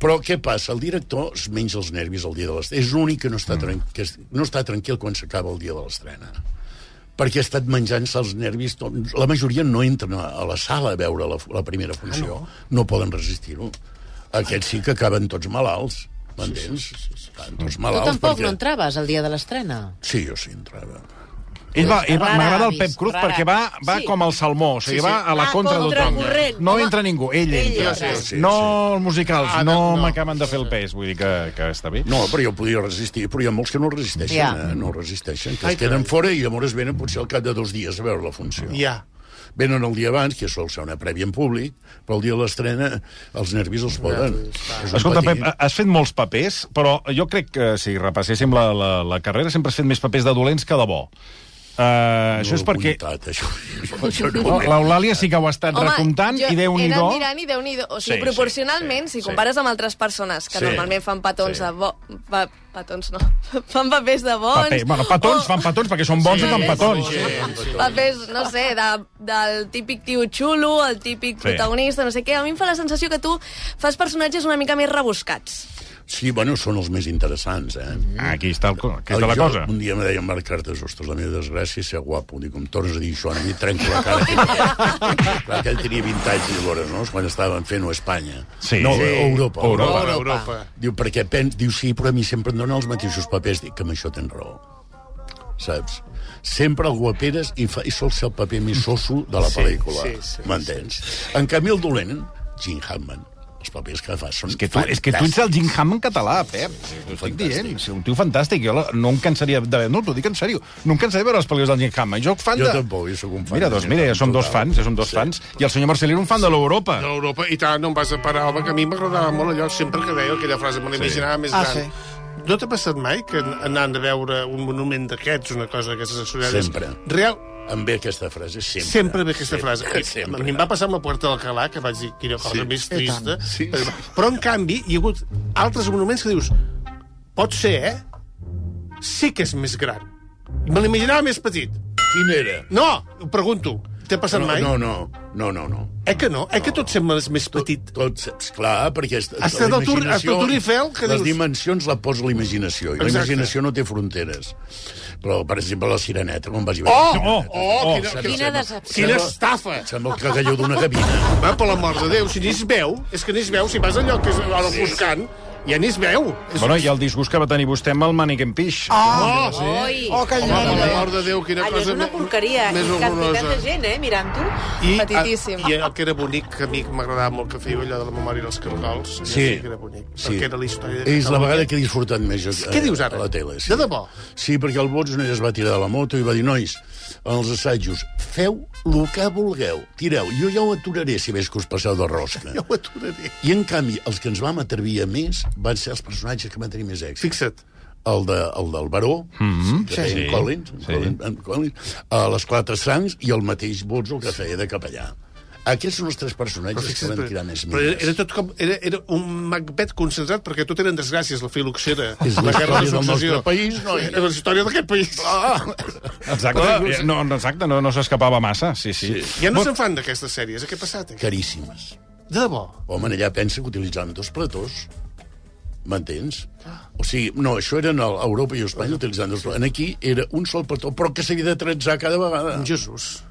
[SPEAKER 4] Però què passa? El director es menja els nervis el dia de l'estrena. És l'únic que, no està, tran... que es- no està tranquil quan s'acaba el dia de l'estrena perquè ha estat menjant-se els nervis. tot. La majoria no entren a a la sala a veure la, la primera funció. Ah, no? poden resistir-ho. Aquests sí que acaben tots malalts, m'entens? Sí, sí, sí, sí. Tots
[SPEAKER 9] Tu
[SPEAKER 4] malalts.
[SPEAKER 9] tampoc no entraves el dia de l'estrena?
[SPEAKER 4] Sí, jo sí entrava.
[SPEAKER 6] Ell va, ell va,
[SPEAKER 9] Rara
[SPEAKER 6] m'agrada el
[SPEAKER 9] avis,
[SPEAKER 6] Pep Cruz
[SPEAKER 9] rara.
[SPEAKER 6] perquè va, va
[SPEAKER 9] Sí.
[SPEAKER 6] com el salmó, o sigui,
[SPEAKER 7] Sí, sí.
[SPEAKER 6] va a la
[SPEAKER 9] Va
[SPEAKER 6] contra
[SPEAKER 9] contra
[SPEAKER 6] d'tothom.
[SPEAKER 9] corrent.
[SPEAKER 6] No
[SPEAKER 9] Home,
[SPEAKER 6] entra ningú, ell,
[SPEAKER 9] ell
[SPEAKER 6] entra.
[SPEAKER 9] entra.
[SPEAKER 4] Sí, sí,
[SPEAKER 6] no els musicals,
[SPEAKER 7] Ah,
[SPEAKER 6] no,
[SPEAKER 7] no, no.
[SPEAKER 6] m'acaben de fer el pes, vull dir que, que està bé.
[SPEAKER 4] No, però jo podia resistir, però hi ha molts que no resisteixen,
[SPEAKER 9] Ja.
[SPEAKER 4] eh? no resisteixen, que es queden fora i llavors venen potser al cap de dos dies a veure la funció.
[SPEAKER 7] Ja.
[SPEAKER 4] Venen el dia abans, que sol ser una prèvia en públic, però el dia de l'estrena els nervis els poden. És un
[SPEAKER 6] Escolta,
[SPEAKER 4] patir.
[SPEAKER 6] Pep, has fet molts papers, però jo crec que si repasséssim la, la, la carrera sempre has fet més papers de dolents que de bo. Uh, això
[SPEAKER 4] No
[SPEAKER 6] és
[SPEAKER 4] ho he
[SPEAKER 6] perquè...
[SPEAKER 4] apuntat, això, això no ho
[SPEAKER 6] No,
[SPEAKER 4] he
[SPEAKER 6] L'Eulàlia sí que ho ha estat
[SPEAKER 8] Home,
[SPEAKER 6] recomptant
[SPEAKER 8] jo
[SPEAKER 6] i déu nhi
[SPEAKER 8] He anat mirant i déu nhi O sigui,
[SPEAKER 6] Sí,
[SPEAKER 8] sí, proporcionalment,
[SPEAKER 6] sí,
[SPEAKER 8] sí,
[SPEAKER 6] sí.
[SPEAKER 8] si compares amb altres persones que
[SPEAKER 4] Sí.
[SPEAKER 8] sí, normalment fan petons
[SPEAKER 4] Sí.
[SPEAKER 8] sí. de bo... Pa, petons no. fan papers de bons.
[SPEAKER 6] Paper. Bueno, petons, fan petons, perquè són bons i
[SPEAKER 8] Oh. Sí,
[SPEAKER 6] fan
[SPEAKER 8] sí,
[SPEAKER 6] petons.
[SPEAKER 8] Papers, no sé, de, del típic tio xulo, el típic
[SPEAKER 6] Sí.
[SPEAKER 8] sí. protagonista, no sé què. A mi em fa la sensació que tu fas personatges una mica més rebuscats.
[SPEAKER 4] Sí, bueno, són els més interessants, eh?
[SPEAKER 6] Aquí està, el, co- aquí està
[SPEAKER 4] El-
[SPEAKER 6] la
[SPEAKER 4] jo,
[SPEAKER 6] cosa.
[SPEAKER 4] Un dia me deia Marc Cartes, ostres, la meva desgràcia és ser guapo. Dic, com tornes a dir això, a mi et trenco la cara. Clar, aquell tenia 20 anys llavors, no? Quan estaven fent-ho a Espanya.
[SPEAKER 6] Sí.
[SPEAKER 4] No,
[SPEAKER 6] Sí.
[SPEAKER 4] a Europa.
[SPEAKER 6] Europa.
[SPEAKER 7] Europa. Europa.
[SPEAKER 4] Diu, perquè pens... Diu, sí, però a mi sempre em donen els mateixos papers. Dic, que amb això tens raó. Saps? Sempre el guaperes i, fa, i sol ser el paper més soso de la pel·lícula.
[SPEAKER 7] sí, sí,
[SPEAKER 4] M'entens? En canvi, el dolent, Gene Hammond, els papers que fa són
[SPEAKER 6] És que, tu, és que tu ets el Jim Hamm en català, Pep. T'ho estic
[SPEAKER 4] Fantàstic.
[SPEAKER 6] dient. És un tio fantàstic. Jo la- no em cansaria de... No, t'ho dic en sèrio. No em cansaria de veure els pel·lícules del Jim Hamm. Jo, fan
[SPEAKER 4] Jo
[SPEAKER 6] de...
[SPEAKER 4] tampoc, jo sóc un fan.
[SPEAKER 6] Mira,
[SPEAKER 4] de
[SPEAKER 6] doncs
[SPEAKER 4] Jim
[SPEAKER 6] mira, ja
[SPEAKER 4] Hammond
[SPEAKER 6] som dos
[SPEAKER 4] total.
[SPEAKER 6] fans, ja som dos fans. I el senyor Marcelí era un fan de l'Europa.
[SPEAKER 7] De l'Europa. I tant, no em vas a parar, home, que a mi m'agradava molt allò, sempre que deia aquella frase, me l'imaginava sí. més
[SPEAKER 9] Ah,
[SPEAKER 7] gran. sí. No t'ha passat mai que anant a veure un monument d'aquests, una cosa d'aquestes associades...
[SPEAKER 4] Sempre.
[SPEAKER 7] Real,
[SPEAKER 4] Em ve aquesta frase, sempre.
[SPEAKER 7] sempre ve aquesta frase.
[SPEAKER 4] sempre.
[SPEAKER 7] A mi em va passar amb la Puerta del Calà, que vaig dir, quina cosa
[SPEAKER 4] Sí.
[SPEAKER 7] sí. més
[SPEAKER 4] I
[SPEAKER 7] trista.
[SPEAKER 4] Sí.
[SPEAKER 7] Però, en canvi, hi ha hagut altres monuments que dius, pot ser, eh? Sí que és més gran. Me l'imaginava més petit.
[SPEAKER 4] Quin era?
[SPEAKER 7] No, ho pregunto. T'ha passat
[SPEAKER 4] No,
[SPEAKER 7] mai?
[SPEAKER 4] no, no, no, no, no.
[SPEAKER 7] Eh que no? Eh que tot sembla més petit?
[SPEAKER 4] Tot, esclar, perquè... est-
[SPEAKER 7] Has estat al Tour-
[SPEAKER 4] la imaginació-
[SPEAKER 7] al Tour Eiffel, que
[SPEAKER 4] Les
[SPEAKER 7] dius-
[SPEAKER 4] dimensions la posa la imaginació, i la
[SPEAKER 7] Exacte.
[SPEAKER 4] imaginació no té fronteres. Però, per exemple, la sireneta, quan vas i
[SPEAKER 7] Oh!
[SPEAKER 4] veure...
[SPEAKER 6] Oh, oh,
[SPEAKER 7] quina-
[SPEAKER 4] sembla-
[SPEAKER 9] Quina decepció.
[SPEAKER 7] Quina
[SPEAKER 4] Sembla-
[SPEAKER 7] estafa!
[SPEAKER 4] Sembla el cagalló d'una gavina.
[SPEAKER 7] Va, per l'amor de Déu, si ni es veu, és que ni es veu, si vas allò que és a la buscant, ja ni es veu. És...
[SPEAKER 6] Bueno, i el disgust que va tenir vostè amb el Mannequin Pix.
[SPEAKER 7] Oh, sí.
[SPEAKER 9] Oi!
[SPEAKER 7] oh calla, per l'amor de Déu, quina
[SPEAKER 9] Allò és
[SPEAKER 7] cosa
[SPEAKER 9] una
[SPEAKER 7] me-
[SPEAKER 9] porqueria.
[SPEAKER 7] més
[SPEAKER 9] I quantitat
[SPEAKER 7] horrorosa.
[SPEAKER 9] de gent, eh, mirant-ho.
[SPEAKER 7] I, a-
[SPEAKER 8] Petitíssim.
[SPEAKER 7] I el que era bonic, que a mi m'agradava molt que fèieu allò de la memòria dels cargols, sí.
[SPEAKER 4] Sí.
[SPEAKER 7] que era bonic,
[SPEAKER 4] Sí.
[SPEAKER 7] perquè era la història... de
[SPEAKER 4] És la
[SPEAKER 7] Catalunya.
[SPEAKER 4] vegada que he disfrutat més jo,
[SPEAKER 7] Què dius ara?
[SPEAKER 4] a la tele. Sí.
[SPEAKER 7] De debò?
[SPEAKER 4] Sí, perquè el Botsner es va tirar de la moto i va dir, nois, en els assajos, feu el que vulgueu, tireu. Jo ja ho aturaré si veig que us passeu de rosca.
[SPEAKER 7] Ja ho aturaré.
[SPEAKER 4] I, en canvi, els que ens vam atrevir a més van ser els personatges que van tenir més èxit.
[SPEAKER 7] Fixa't.
[SPEAKER 4] El, de, el del Baró, mm -hmm. que feia sí, en Collins, sí. Collins, en Collins, a les Quatre Sangs, i el mateix Bots, el que feia de capellà. Aquests són els tres personatges que
[SPEAKER 7] Fixa't,
[SPEAKER 4] van
[SPEAKER 7] però,
[SPEAKER 4] tirar més
[SPEAKER 7] però era,
[SPEAKER 4] milles.
[SPEAKER 7] era tot com... Era, era un Macbeth concentrat, perquè tot eren desgràcies, la filoxera,
[SPEAKER 4] És la
[SPEAKER 7] guerra de
[SPEAKER 4] història del
[SPEAKER 7] successió.
[SPEAKER 4] nostre país, noi. Ah.
[SPEAKER 7] Era la història d'aquest país.
[SPEAKER 6] Exacte, eh, no, no, exacte, no, no s'escapava massa, sí, sí.
[SPEAKER 7] Ja no se'n fan d'aquestes sèries, eh? Què ha passat? Eh?
[SPEAKER 4] Caríssimes.
[SPEAKER 7] De debò.
[SPEAKER 4] Home, allà pensa que utilitzaven dos platós. M'entens?
[SPEAKER 7] Ah.
[SPEAKER 4] O sigui, no, això eren a Europa i a Espanya utilitzant dos platós. En aquí era un sol plató, però que s'havia de tretzar cada
[SPEAKER 7] Ah.
[SPEAKER 4] vegada.
[SPEAKER 7] Jesús.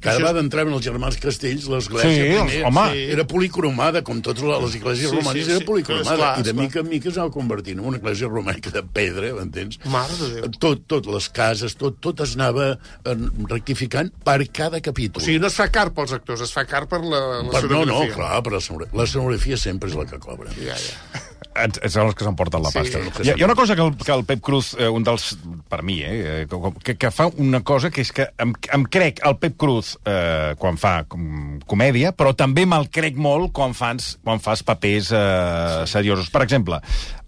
[SPEAKER 4] Cada
[SPEAKER 7] Això és-
[SPEAKER 4] vegada entraven els germans castells, l'església
[SPEAKER 6] Sí, els-
[SPEAKER 4] primer.
[SPEAKER 6] home.
[SPEAKER 4] Sí. Era policromada, com totes les esglésies sí,
[SPEAKER 7] Sí, sí,
[SPEAKER 4] romanes,
[SPEAKER 7] sí.
[SPEAKER 4] era policromada.
[SPEAKER 7] Esclar,
[SPEAKER 4] I de
[SPEAKER 7] esclar.
[SPEAKER 4] mica en mica es va convertint en una església romànica de pedra, m'entens?
[SPEAKER 7] Mare de Déu.
[SPEAKER 4] Tot, tot, les cases, tot, tot es anava eh, rectificant per cada capítol.
[SPEAKER 7] O sigui, no es fa car pels actors, es fa car per la, la
[SPEAKER 4] per, no, no,
[SPEAKER 7] escenografia.
[SPEAKER 4] clar, però la sonografia sempre és la que cobra.
[SPEAKER 7] Ja, ja.
[SPEAKER 6] et- et- són els que s'emporten la
[SPEAKER 4] Sí,
[SPEAKER 6] pasta.
[SPEAKER 4] el que
[SPEAKER 6] Sí, hi, ha,
[SPEAKER 4] sí.
[SPEAKER 6] hi ha una cosa que el, que el Pep Cruz, eh, un dels, per mi, eh, eh, com- que, que fa una cosa que és que em, em crec el Pep Cruz eh, quan fa com, comèdia, però també me'l crec molt quan fas, quan fas papers eh, seriosos. Per exemple,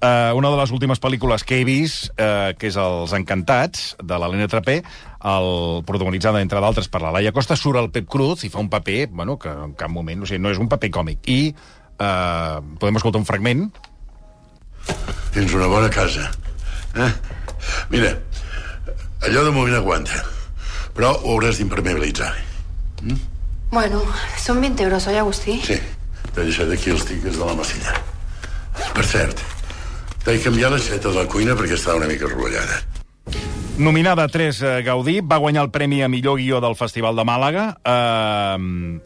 [SPEAKER 6] eh, una de les últimes pel·lícules que he vist, eh, que és Els Encantats, de l'Helena Trapé, el, protagonitzada, entre d'altres, per la Laia Costa, surt el Pep Cruz i fa un paper, bueno, que en cap moment, o sigui, no és un paper còmic. I eh, podem escoltar un fragment
[SPEAKER 3] Tens una bona casa. Eh? Mira, allò de moment aguanta, però ho hauràs d'impermeabilitzar.
[SPEAKER 10] Bueno, son 20 euros hoy, Agustí.
[SPEAKER 3] Sí, t'he deixat aquí els tiques de la massilla. Per cert, t'he canviat l'aixeta de la cuina perquè està una mica rotllada.
[SPEAKER 6] Nominada a 3 eh, Gaudí, va guanyar el premi a millor guió del Festival de Màlaga. Eh,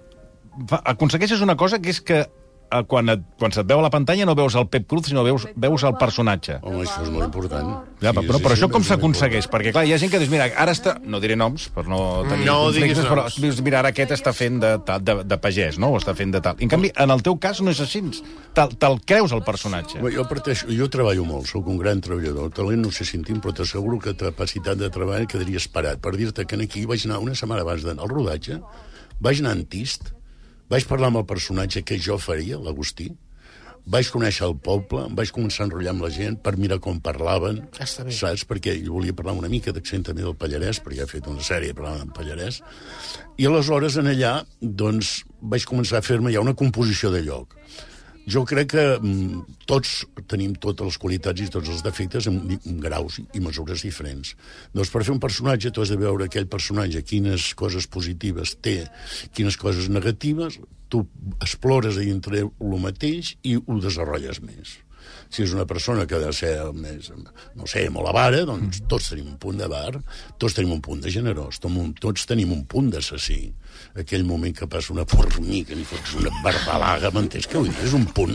[SPEAKER 6] fa- aconsegueixes una cosa que és que eh, quan, et, quan se't veu a la pantalla no veus el Pep Cruz, sinó veus, veus el personatge.
[SPEAKER 7] Oh.
[SPEAKER 4] Home, això és molt important.
[SPEAKER 6] Ja, però, però, però això com
[SPEAKER 4] és molt
[SPEAKER 6] s'aconsegueix? Perquè, clar, hi ha gent que dius, mira, ara està... No diré noms, per no tenir
[SPEAKER 7] No
[SPEAKER 6] conflictes,
[SPEAKER 7] diguis
[SPEAKER 6] però
[SPEAKER 7] noms.
[SPEAKER 6] dius, mira, ara aquest està fent de, tal- de, de pagès, no? O està fent de tal. En canvi, en el teu cas no és així. Te'l te creus, el personatge.
[SPEAKER 4] Bé, Jo, parteixo, jo treballo molt, sóc un gran treballador. Talent no sé si en tinc, però t'asseguro que capacitat de treball quedaria esperat. Per dir-te que aquí vaig anar una setmana abans d'anar al rodatge, vaig anar en tist, vaig parlar amb el personatge que jo faria, l'Agustí, vaig conèixer el poble, em vaig començar a enrotllar amb la gent per mirar com parlaven,
[SPEAKER 7] Ah, Està bé.
[SPEAKER 4] saps? Perquè jo volia parlar una mica d'accent també del Pallarès, perquè he fet una sèrie parlant del Pallarès, i aleshores en allà doncs, vaig començar a fer-me ja una composició de lloc. Jo crec que mm, tots tenim totes les qualitats i tots els defectes en, di- en graus i mesures diferents. Doncs per fer un personatge tu has de veure aquell personatge, quines coses positives té, quines coses negatives, tu explores a dintre el mateix i ho desenvolupes més. Si és una persona que ha de ser més, no sé, molt avara, doncs tots tenim un punt de bar, tots tenim un punt de generós, tom- tots tenim un punt d'assassí. Aquell moment que passa una formiga, ni fots una barbalaga, m'entens què vull dir? És un punt,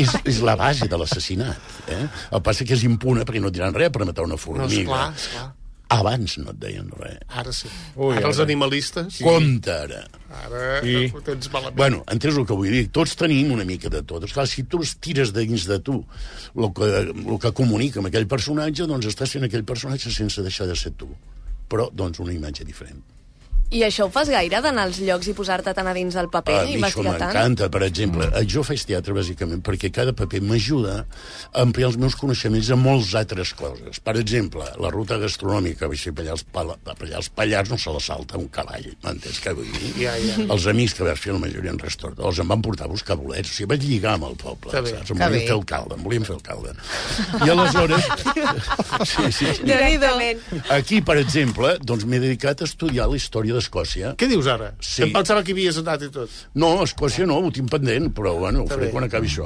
[SPEAKER 4] és, és la base de l'assassinat. Eh? El passa que és impune perquè no et diran res per matar una
[SPEAKER 7] No,
[SPEAKER 4] formiga.
[SPEAKER 7] esclar, esclar.
[SPEAKER 4] Abans no et deien res.
[SPEAKER 7] Ara sí.
[SPEAKER 6] Ui,
[SPEAKER 7] ara els
[SPEAKER 6] ara.
[SPEAKER 7] animalistes...
[SPEAKER 4] Sí. Compte ara.
[SPEAKER 7] Ara
[SPEAKER 6] Sí.
[SPEAKER 7] ho tens malament.
[SPEAKER 4] Bueno, entens el que vull dir? Tots tenim una mica de tot. Esclar, si tu es tires de dins de tu el que, el que comunica amb aquell personatge, doncs estàs sent aquell personatge sense deixar de ser tu. Però, doncs, una imatge diferent.
[SPEAKER 8] I això ho fas gaire, d'anar als llocs i posar-te tant a dins del paper
[SPEAKER 4] A
[SPEAKER 8] i
[SPEAKER 4] mi això
[SPEAKER 8] investigar tant?
[SPEAKER 4] Ah, m'encanta, per exemple. Mm. Jo faig teatre, bàsicament, perquè cada paper m'ajuda a ampliar els meus coneixements a molts altres coses. Per exemple, la ruta gastronòmica, vaig fer Pallars, Pal- a Pallars Pallars, no se la salta un cavall, m'entens què vull dir?
[SPEAKER 7] Ja, ja.
[SPEAKER 4] Els amics que vaig fer, la majoria en restauradors, em van portar a buscar bolets, o sigui, vaig lligar amb el poble,
[SPEAKER 7] Que bé,
[SPEAKER 4] saps? Em
[SPEAKER 9] que
[SPEAKER 4] volien
[SPEAKER 9] bé.
[SPEAKER 4] fer alcalde, em volien fer alcalde. I aleshores... sí, sí, sí.
[SPEAKER 8] Directament.
[SPEAKER 4] Aquí, per exemple, doncs m'he dedicat a estudiar la història d'Escòcia,
[SPEAKER 7] Què dius ara?
[SPEAKER 4] Sí.
[SPEAKER 7] Em pensava que hi havies anat i tot.
[SPEAKER 4] no, a Escòcia no, ho tinc pendent, però bueno, ho faré
[SPEAKER 7] Ah, bé.
[SPEAKER 4] quan acabi això.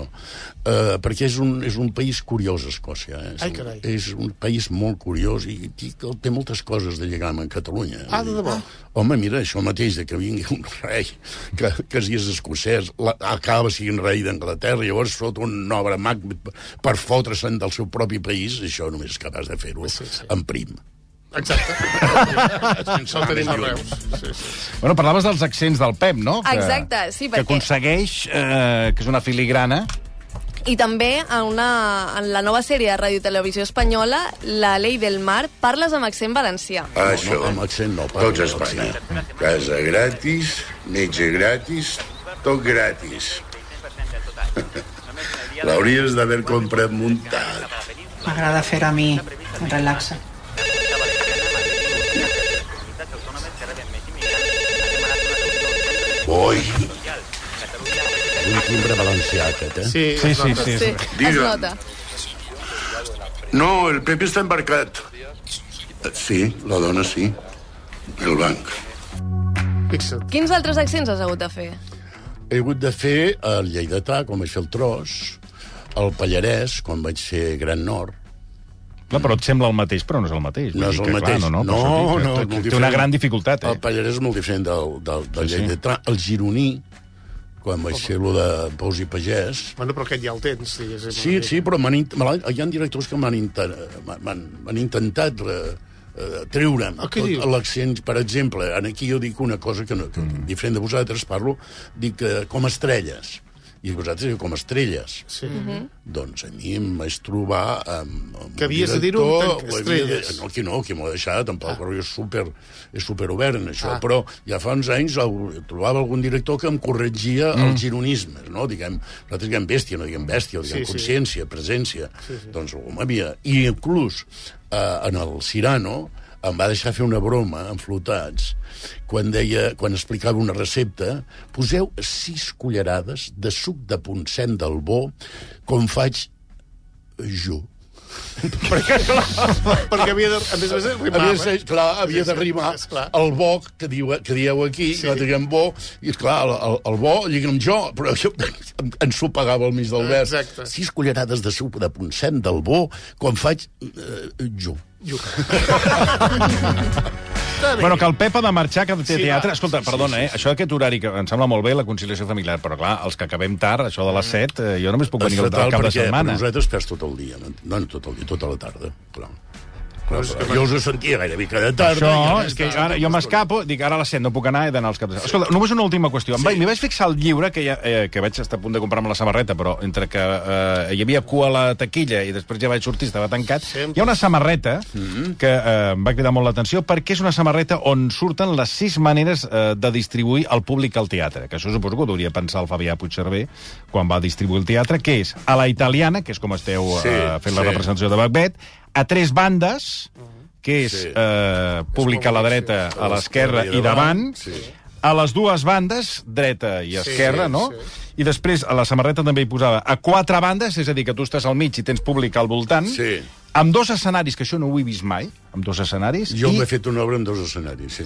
[SPEAKER 4] Uh, perquè és un, és un país curiós, Escòcia. Eh? És,
[SPEAKER 7] Ai,
[SPEAKER 4] un-
[SPEAKER 7] carai.
[SPEAKER 4] és un país molt curiós i, i que té moltes coses de lligam amb Catalunya.
[SPEAKER 7] Ah, de debò?
[SPEAKER 4] Home, mira, això mateix, de que vingui un rei, que, que si és escocès, la, acaba sent rei d'Anglaterra, llavors fot un obra mag per fotre-se'n del seu propi país, això només és capaç de fer-ho sí, sí. en prim.
[SPEAKER 7] Exacte.
[SPEAKER 4] Sense
[SPEAKER 7] Sol
[SPEAKER 4] anar
[SPEAKER 7] tenim a
[SPEAKER 4] més lluny.
[SPEAKER 7] Reus. Sí, sí.
[SPEAKER 6] Bueno, parlaves dels accents del Pep, no? Que,
[SPEAKER 8] Exacte, sí,
[SPEAKER 6] Que
[SPEAKER 8] perquè-
[SPEAKER 6] aconsegueix, eh, que és una filigrana...
[SPEAKER 8] I també en, una, en la nova sèrie de Ràdio Televisió Espanyola, La Ley del Mar, parles amb accent valencià.
[SPEAKER 3] Ah, Això,
[SPEAKER 4] No, no, amb accent no. parlo
[SPEAKER 3] tots a
[SPEAKER 4] amb accent.
[SPEAKER 3] Espanya. Casa gratis, metge gratis, tot gratis. L'hauries d'haver comprat muntat.
[SPEAKER 10] M'agrada fer a mi. Em relaxa.
[SPEAKER 3] Oi,
[SPEAKER 4] Un timbre valencià, aquest, eh?
[SPEAKER 7] Sí,
[SPEAKER 6] Sí, sí,
[SPEAKER 7] notes.
[SPEAKER 6] sí.
[SPEAKER 8] Sí,
[SPEAKER 6] sí.
[SPEAKER 8] es
[SPEAKER 3] Digue'm.
[SPEAKER 8] nota.
[SPEAKER 3] no, el Pepe està embarcat. Sí, la dona sí. El banc.
[SPEAKER 7] Fixa't.
[SPEAKER 8] Quins altres accents has hagut de fer?
[SPEAKER 4] he hagut de fer el Lleidatà, quan vaig fer el Tros, el Pallarès, quan vaig fer Gran Nord.
[SPEAKER 6] Clar, però et sembla el mateix, però no és el mateix. Vull
[SPEAKER 4] No és
[SPEAKER 6] dir
[SPEAKER 4] el
[SPEAKER 6] que,
[SPEAKER 4] mateix.
[SPEAKER 6] Clar, no, no,
[SPEAKER 4] no,
[SPEAKER 6] per això dic que
[SPEAKER 4] no,
[SPEAKER 6] té-
[SPEAKER 4] molt
[SPEAKER 6] té una
[SPEAKER 4] diferent.
[SPEAKER 6] gran dificultat, eh?
[SPEAKER 4] El Pallarès és molt diferent del, del, del
[SPEAKER 6] Sí,
[SPEAKER 4] sí,
[SPEAKER 6] sí.
[SPEAKER 4] Lleidatà. El gironí, quan vaig fer lo de Pous i Pagès...
[SPEAKER 7] Bueno, però aquest ja el tens, diguéssim.
[SPEAKER 4] Sí, sí, però m'han int- me l'han- hi ha directors que m'han inter... m'han- m'han intentat re, eh, treure'm
[SPEAKER 7] Ah, què
[SPEAKER 4] tot
[SPEAKER 7] dius? Mm-hmm.
[SPEAKER 4] l'accent, per exemple, en aquí jo dic una cosa que, no, que diferent de vosaltres parlo, dic eh, com estrelles i vosaltres éreu com estrelles.
[SPEAKER 7] Sí. Mhm.
[SPEAKER 4] Doncs a mi em vaig trobar amb, amb
[SPEAKER 7] Que havies de dir-ho en tant que
[SPEAKER 4] ho havia de-
[SPEAKER 7] estrelles.
[SPEAKER 4] No, aquí no, aquí m'ho ha deixat, tampoc, ah. però és super, és super obert en això. Ah. Però ja fa uns anys el- trobava algun director que em corregia mm. els gironismes, no? Diguem, nosaltres diguem bèstia, no diguem bèstia, diguem
[SPEAKER 7] Sí, sí.
[SPEAKER 4] sí, consciència, presència. Sí, sí. Doncs algú m'havia... I inclús eh, en el Cirano em va deixar fer una broma en flotats quan, deia, quan explicava una recepta poseu sis cullerades de suc de poncem del bo com faig jo.
[SPEAKER 7] Perquè havia de... A més eh? a més, rimava.
[SPEAKER 4] Havia de ser, clar, havia
[SPEAKER 7] Sí,
[SPEAKER 4] de
[SPEAKER 7] sí,
[SPEAKER 4] rimar
[SPEAKER 7] és clar.
[SPEAKER 4] el bo que, diu, que dieu aquí,
[SPEAKER 7] Sí.
[SPEAKER 4] sí. que diguem bo, i clar, el, el, el bo lliga amb jo, però jo ens ho pagava al mig del vers.
[SPEAKER 7] Exacte.
[SPEAKER 4] Sis cullerades de suc de poncem del bo com faig eh, jo.
[SPEAKER 6] Bueno, que el Pep ha de marxar, que té
[SPEAKER 7] Sí,
[SPEAKER 6] sí, teatre...
[SPEAKER 7] va.
[SPEAKER 6] Escolta, perdona, eh? Això d'aquest horari, que em sembla molt bé, la conciliació familiar, però clar, els que acabem tard, això de les 7, eh, jo només puc venir al cap de
[SPEAKER 4] perquè per
[SPEAKER 6] setmana.
[SPEAKER 4] nosaltres perds tot el dia, no, no tot el dia, tota la tarda, però... Clar, però jo us ho sentia gairebé cada tarda.
[SPEAKER 6] Això,
[SPEAKER 4] i ara
[SPEAKER 6] és que
[SPEAKER 4] està,
[SPEAKER 6] ara jo
[SPEAKER 4] tota l'estona.
[SPEAKER 6] m'escapo, dic, ara a les 7 no puc anar, he d'anar als caps de... Escolta, només una última qüestió. Em vaig- M'hi vaig fixar el llibre, que, ja, eh, que vaig estar a punt de comprar-me la samarreta, però entre que eh, hi havia cua a la taquilla i després ja vaig sortir, estava tancat, hi ha una samarreta
[SPEAKER 4] Mm-hmm.
[SPEAKER 6] que eh, em va cridar molt l'atenció perquè és una samarreta on surten les sis maneres eh, de distribuir el públic al teatre, que això suposo que ho hauria pensar el Fabià Puigcerver quan va distribuir el teatre, que és a la italiana, que és com esteu
[SPEAKER 4] Sí,
[SPEAKER 6] eh, fent la
[SPEAKER 4] sí. Mm-hmm.
[SPEAKER 6] representació de Macbeth, a tres bandes, que és
[SPEAKER 4] Sí.
[SPEAKER 6] eh, públic a la dreta, a l'esquerra i davant,
[SPEAKER 4] Sí.
[SPEAKER 6] a les dues bandes, dreta i esquerra,
[SPEAKER 7] sí,
[SPEAKER 6] no? I després a la samarreta també hi posava a quatre bandes, és a dir, que tu estàs al mig i tens públic al voltant,
[SPEAKER 4] Sí.
[SPEAKER 6] amb dos escenaris, que això no ho he vist mai, amb dos escenaris,
[SPEAKER 4] Jo
[SPEAKER 6] i,
[SPEAKER 4] m'he fet una obra en dos escenaris, sí.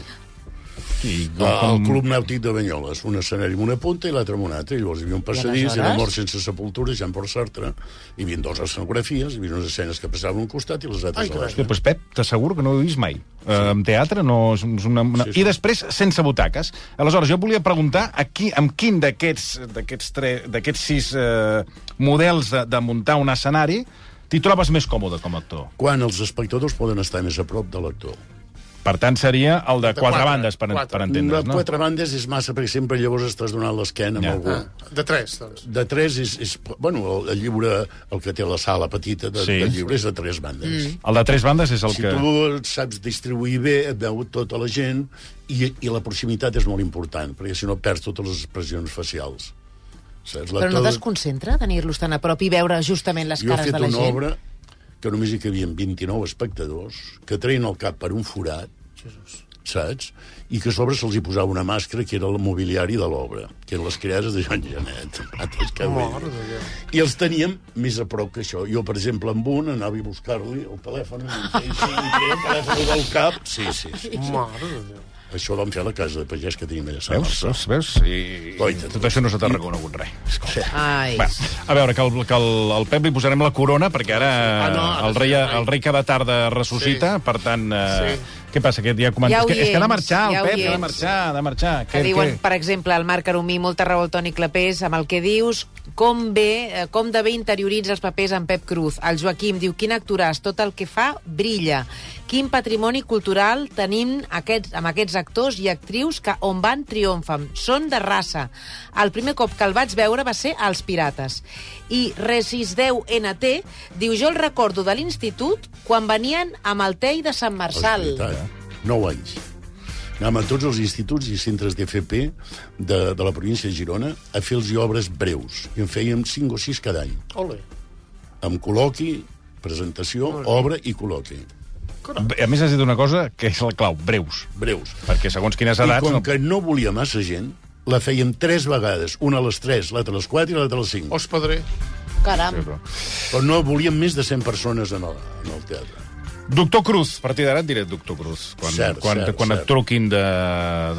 [SPEAKER 6] i com,
[SPEAKER 4] Al
[SPEAKER 6] com,
[SPEAKER 4] Club Nàutic de Banyoles, un escenari amb una punta i l'altre amb una altra, i llavors hi havia un passadís, hi havia
[SPEAKER 9] aleshores?
[SPEAKER 4] Mort sense sepultura, Jean Paul Sartre, hi havia dues escenografies, hi havia unes escenes que passaven a un costat i les altres a
[SPEAKER 6] Hòstia,
[SPEAKER 4] l'altre.
[SPEAKER 6] doncs Pep, t'asseguro que no ho he vist mai. Sí. En teatre no és és una... una...
[SPEAKER 4] Sí,
[SPEAKER 6] Sí,
[SPEAKER 4] sí.
[SPEAKER 6] sí. I després, sense butaques. Aleshores, jo et volia preguntar a qui, amb quin d'aquests d'aquests tre... d'aquests sis eh, models de, de muntar un escenari t'hi trobes més còmode com a actor.
[SPEAKER 4] Quan els espectadors poden estar més a prop de l'actor.
[SPEAKER 6] Per tant, seria el de,
[SPEAKER 7] De
[SPEAKER 6] de quatre,
[SPEAKER 7] quatre,
[SPEAKER 6] bandes, per,
[SPEAKER 7] quatre.
[SPEAKER 6] per
[SPEAKER 4] De
[SPEAKER 6] entendre's, no?
[SPEAKER 4] quatre bandes és massa, perquè sempre llavors estàs donant l'esquena
[SPEAKER 6] Ja.
[SPEAKER 4] amb algú.
[SPEAKER 7] De tres, doncs.
[SPEAKER 4] De tres és, és... Bueno, el, el llibre, el que té la sala petita de, sí.
[SPEAKER 6] Sí.
[SPEAKER 4] de llibre és de tres bandes. Mm.
[SPEAKER 6] El de tres bandes és el
[SPEAKER 4] Si
[SPEAKER 6] que...
[SPEAKER 4] tu saps distribuir bé, et veu tota la gent i, i la proximitat és molt important, perquè si no perds totes les expressions facials. Saps?
[SPEAKER 9] Però no
[SPEAKER 4] L'actor-
[SPEAKER 9] desconcentra tenir-los tan a prop i veure justament les
[SPEAKER 4] Jo he
[SPEAKER 9] cares
[SPEAKER 4] fet
[SPEAKER 9] de la
[SPEAKER 4] una
[SPEAKER 9] gent?
[SPEAKER 4] obra que només hi havien 29 espectadors, que treien el cap per un forat, Jesus. saps? I que a sobre se'ls hi posava una màscara que era el mobiliari de l'obra, que eren les creades de Joan Janet. Mates, que vull dir. I els teníem més a prop que això. Jo, per exemple, amb un anava a buscar-li el telèfon, i em feia així, i treia el telèfon del cap. Sí, sí, sí.
[SPEAKER 7] Mare de Déu.
[SPEAKER 4] Això ho vam fer a la casa de pagès que tenim allà a Sant
[SPEAKER 6] Veus?
[SPEAKER 4] Marçà.
[SPEAKER 6] Veus? Veus? I...
[SPEAKER 4] Coita,
[SPEAKER 6] Tot això no se t'ha reconegut res.
[SPEAKER 9] Ai,
[SPEAKER 6] Bé, a veure, que, el, que el, el Pep li posarem la corona, perquè ara
[SPEAKER 7] Ah,
[SPEAKER 6] ah,
[SPEAKER 7] no,
[SPEAKER 6] no,
[SPEAKER 7] ara
[SPEAKER 6] el, rei,
[SPEAKER 7] sí, ara.
[SPEAKER 6] el rei cada tarda ressuscita, sí. per tant... Eh,
[SPEAKER 7] Sí.
[SPEAKER 6] sí. Què passa? Que ja comença...
[SPEAKER 9] Ja ho
[SPEAKER 6] és, que, és que ha de marxar,
[SPEAKER 9] hi ets, ja
[SPEAKER 6] el
[SPEAKER 9] ho
[SPEAKER 6] Pep,
[SPEAKER 9] hi
[SPEAKER 6] ha de
[SPEAKER 9] ets.
[SPEAKER 6] marxar, ha de marxar.
[SPEAKER 9] que diuen, per exemple, el Marc Aromí, molta raó al Toni Clapés, amb el que dius, com bé, eh, com de bé interioritza els papers en Pep Cruz. El Joaquim diu, quin actoràs, tot el que fa brilla. Quin patrimoni cultural tenim aquests, amb aquests actors i actrius que on van triomfen. Són de raça. El primer cop que el vaig veure va ser als Pirates. I Resisteu-NT diu, jo el recordo de l'institut quan venien amb el tei de Sant Marçal.
[SPEAKER 4] És veritat. 9 anys. Anàvem a tots els instituts i centres d'FP de, de la província de Girona a fer-los obres breus. I en fèiem 5 o 6 cada any.
[SPEAKER 7] Ole.
[SPEAKER 4] Amb col·loqui, presentació, obra i col·loqui.
[SPEAKER 6] A més, has dit una cosa que és la clau, breus.
[SPEAKER 4] Breus.
[SPEAKER 6] Perquè segons quines
[SPEAKER 4] I
[SPEAKER 6] edats...
[SPEAKER 4] com
[SPEAKER 6] no-
[SPEAKER 4] que no volia massa gent, la fèiem tres vegades, una a les 3, l'altra a les 4 i l'altra a les 5.
[SPEAKER 7] Os padré.
[SPEAKER 9] Caram.
[SPEAKER 4] Però no volíem més de 100 persones en el, en el teatre.
[SPEAKER 6] Doctor Cruz, a partir d'ara et diré Doctor Cruz. Quan,
[SPEAKER 4] Cert,
[SPEAKER 6] quan,
[SPEAKER 4] cert,
[SPEAKER 6] quan
[SPEAKER 4] cert.
[SPEAKER 6] et truquin de,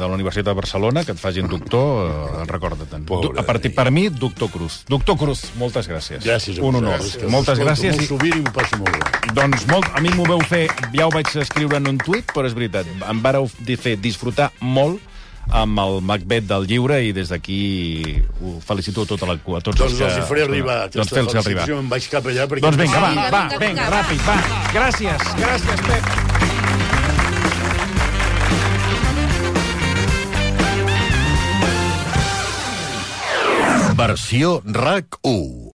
[SPEAKER 6] de la Universitat de Barcelona, que et facin doctor, eh, recorda-te'n.
[SPEAKER 4] Pobre
[SPEAKER 6] Du- A partir,
[SPEAKER 4] de mi.
[SPEAKER 6] per mi, Doctor Cruz. Doctor Cruz, moltes gràcies.
[SPEAKER 4] Gràcies a
[SPEAKER 6] Un honor.
[SPEAKER 4] vosaltres, que us
[SPEAKER 6] Moltes
[SPEAKER 4] escolto
[SPEAKER 6] gràcies.
[SPEAKER 4] Molt
[SPEAKER 6] i-
[SPEAKER 4] sovint i m'ho passo molt bé.
[SPEAKER 6] Doncs molt, a mi m'ho veu fer, ja ho vaig escriure en un tuit, però és veritat, em vàreu di- fer disfrutar molt amb el Macbeth del llibre i des d'aquí ho felicito a tota la cua. a Tots
[SPEAKER 4] Doncs
[SPEAKER 6] que-
[SPEAKER 4] els hi faré arribar.
[SPEAKER 6] Doncs
[SPEAKER 4] aquesta
[SPEAKER 6] fes arribar.
[SPEAKER 4] felicitació. Em vaig cap allà perquè...
[SPEAKER 6] Doncs vinga, va,
[SPEAKER 9] Vinga,
[SPEAKER 6] va,
[SPEAKER 9] vinga,
[SPEAKER 6] vinga,
[SPEAKER 9] vinga, va.
[SPEAKER 6] ràpid, va. Gràcies, gràcies, Pep.
[SPEAKER 3] Versió RAC 1.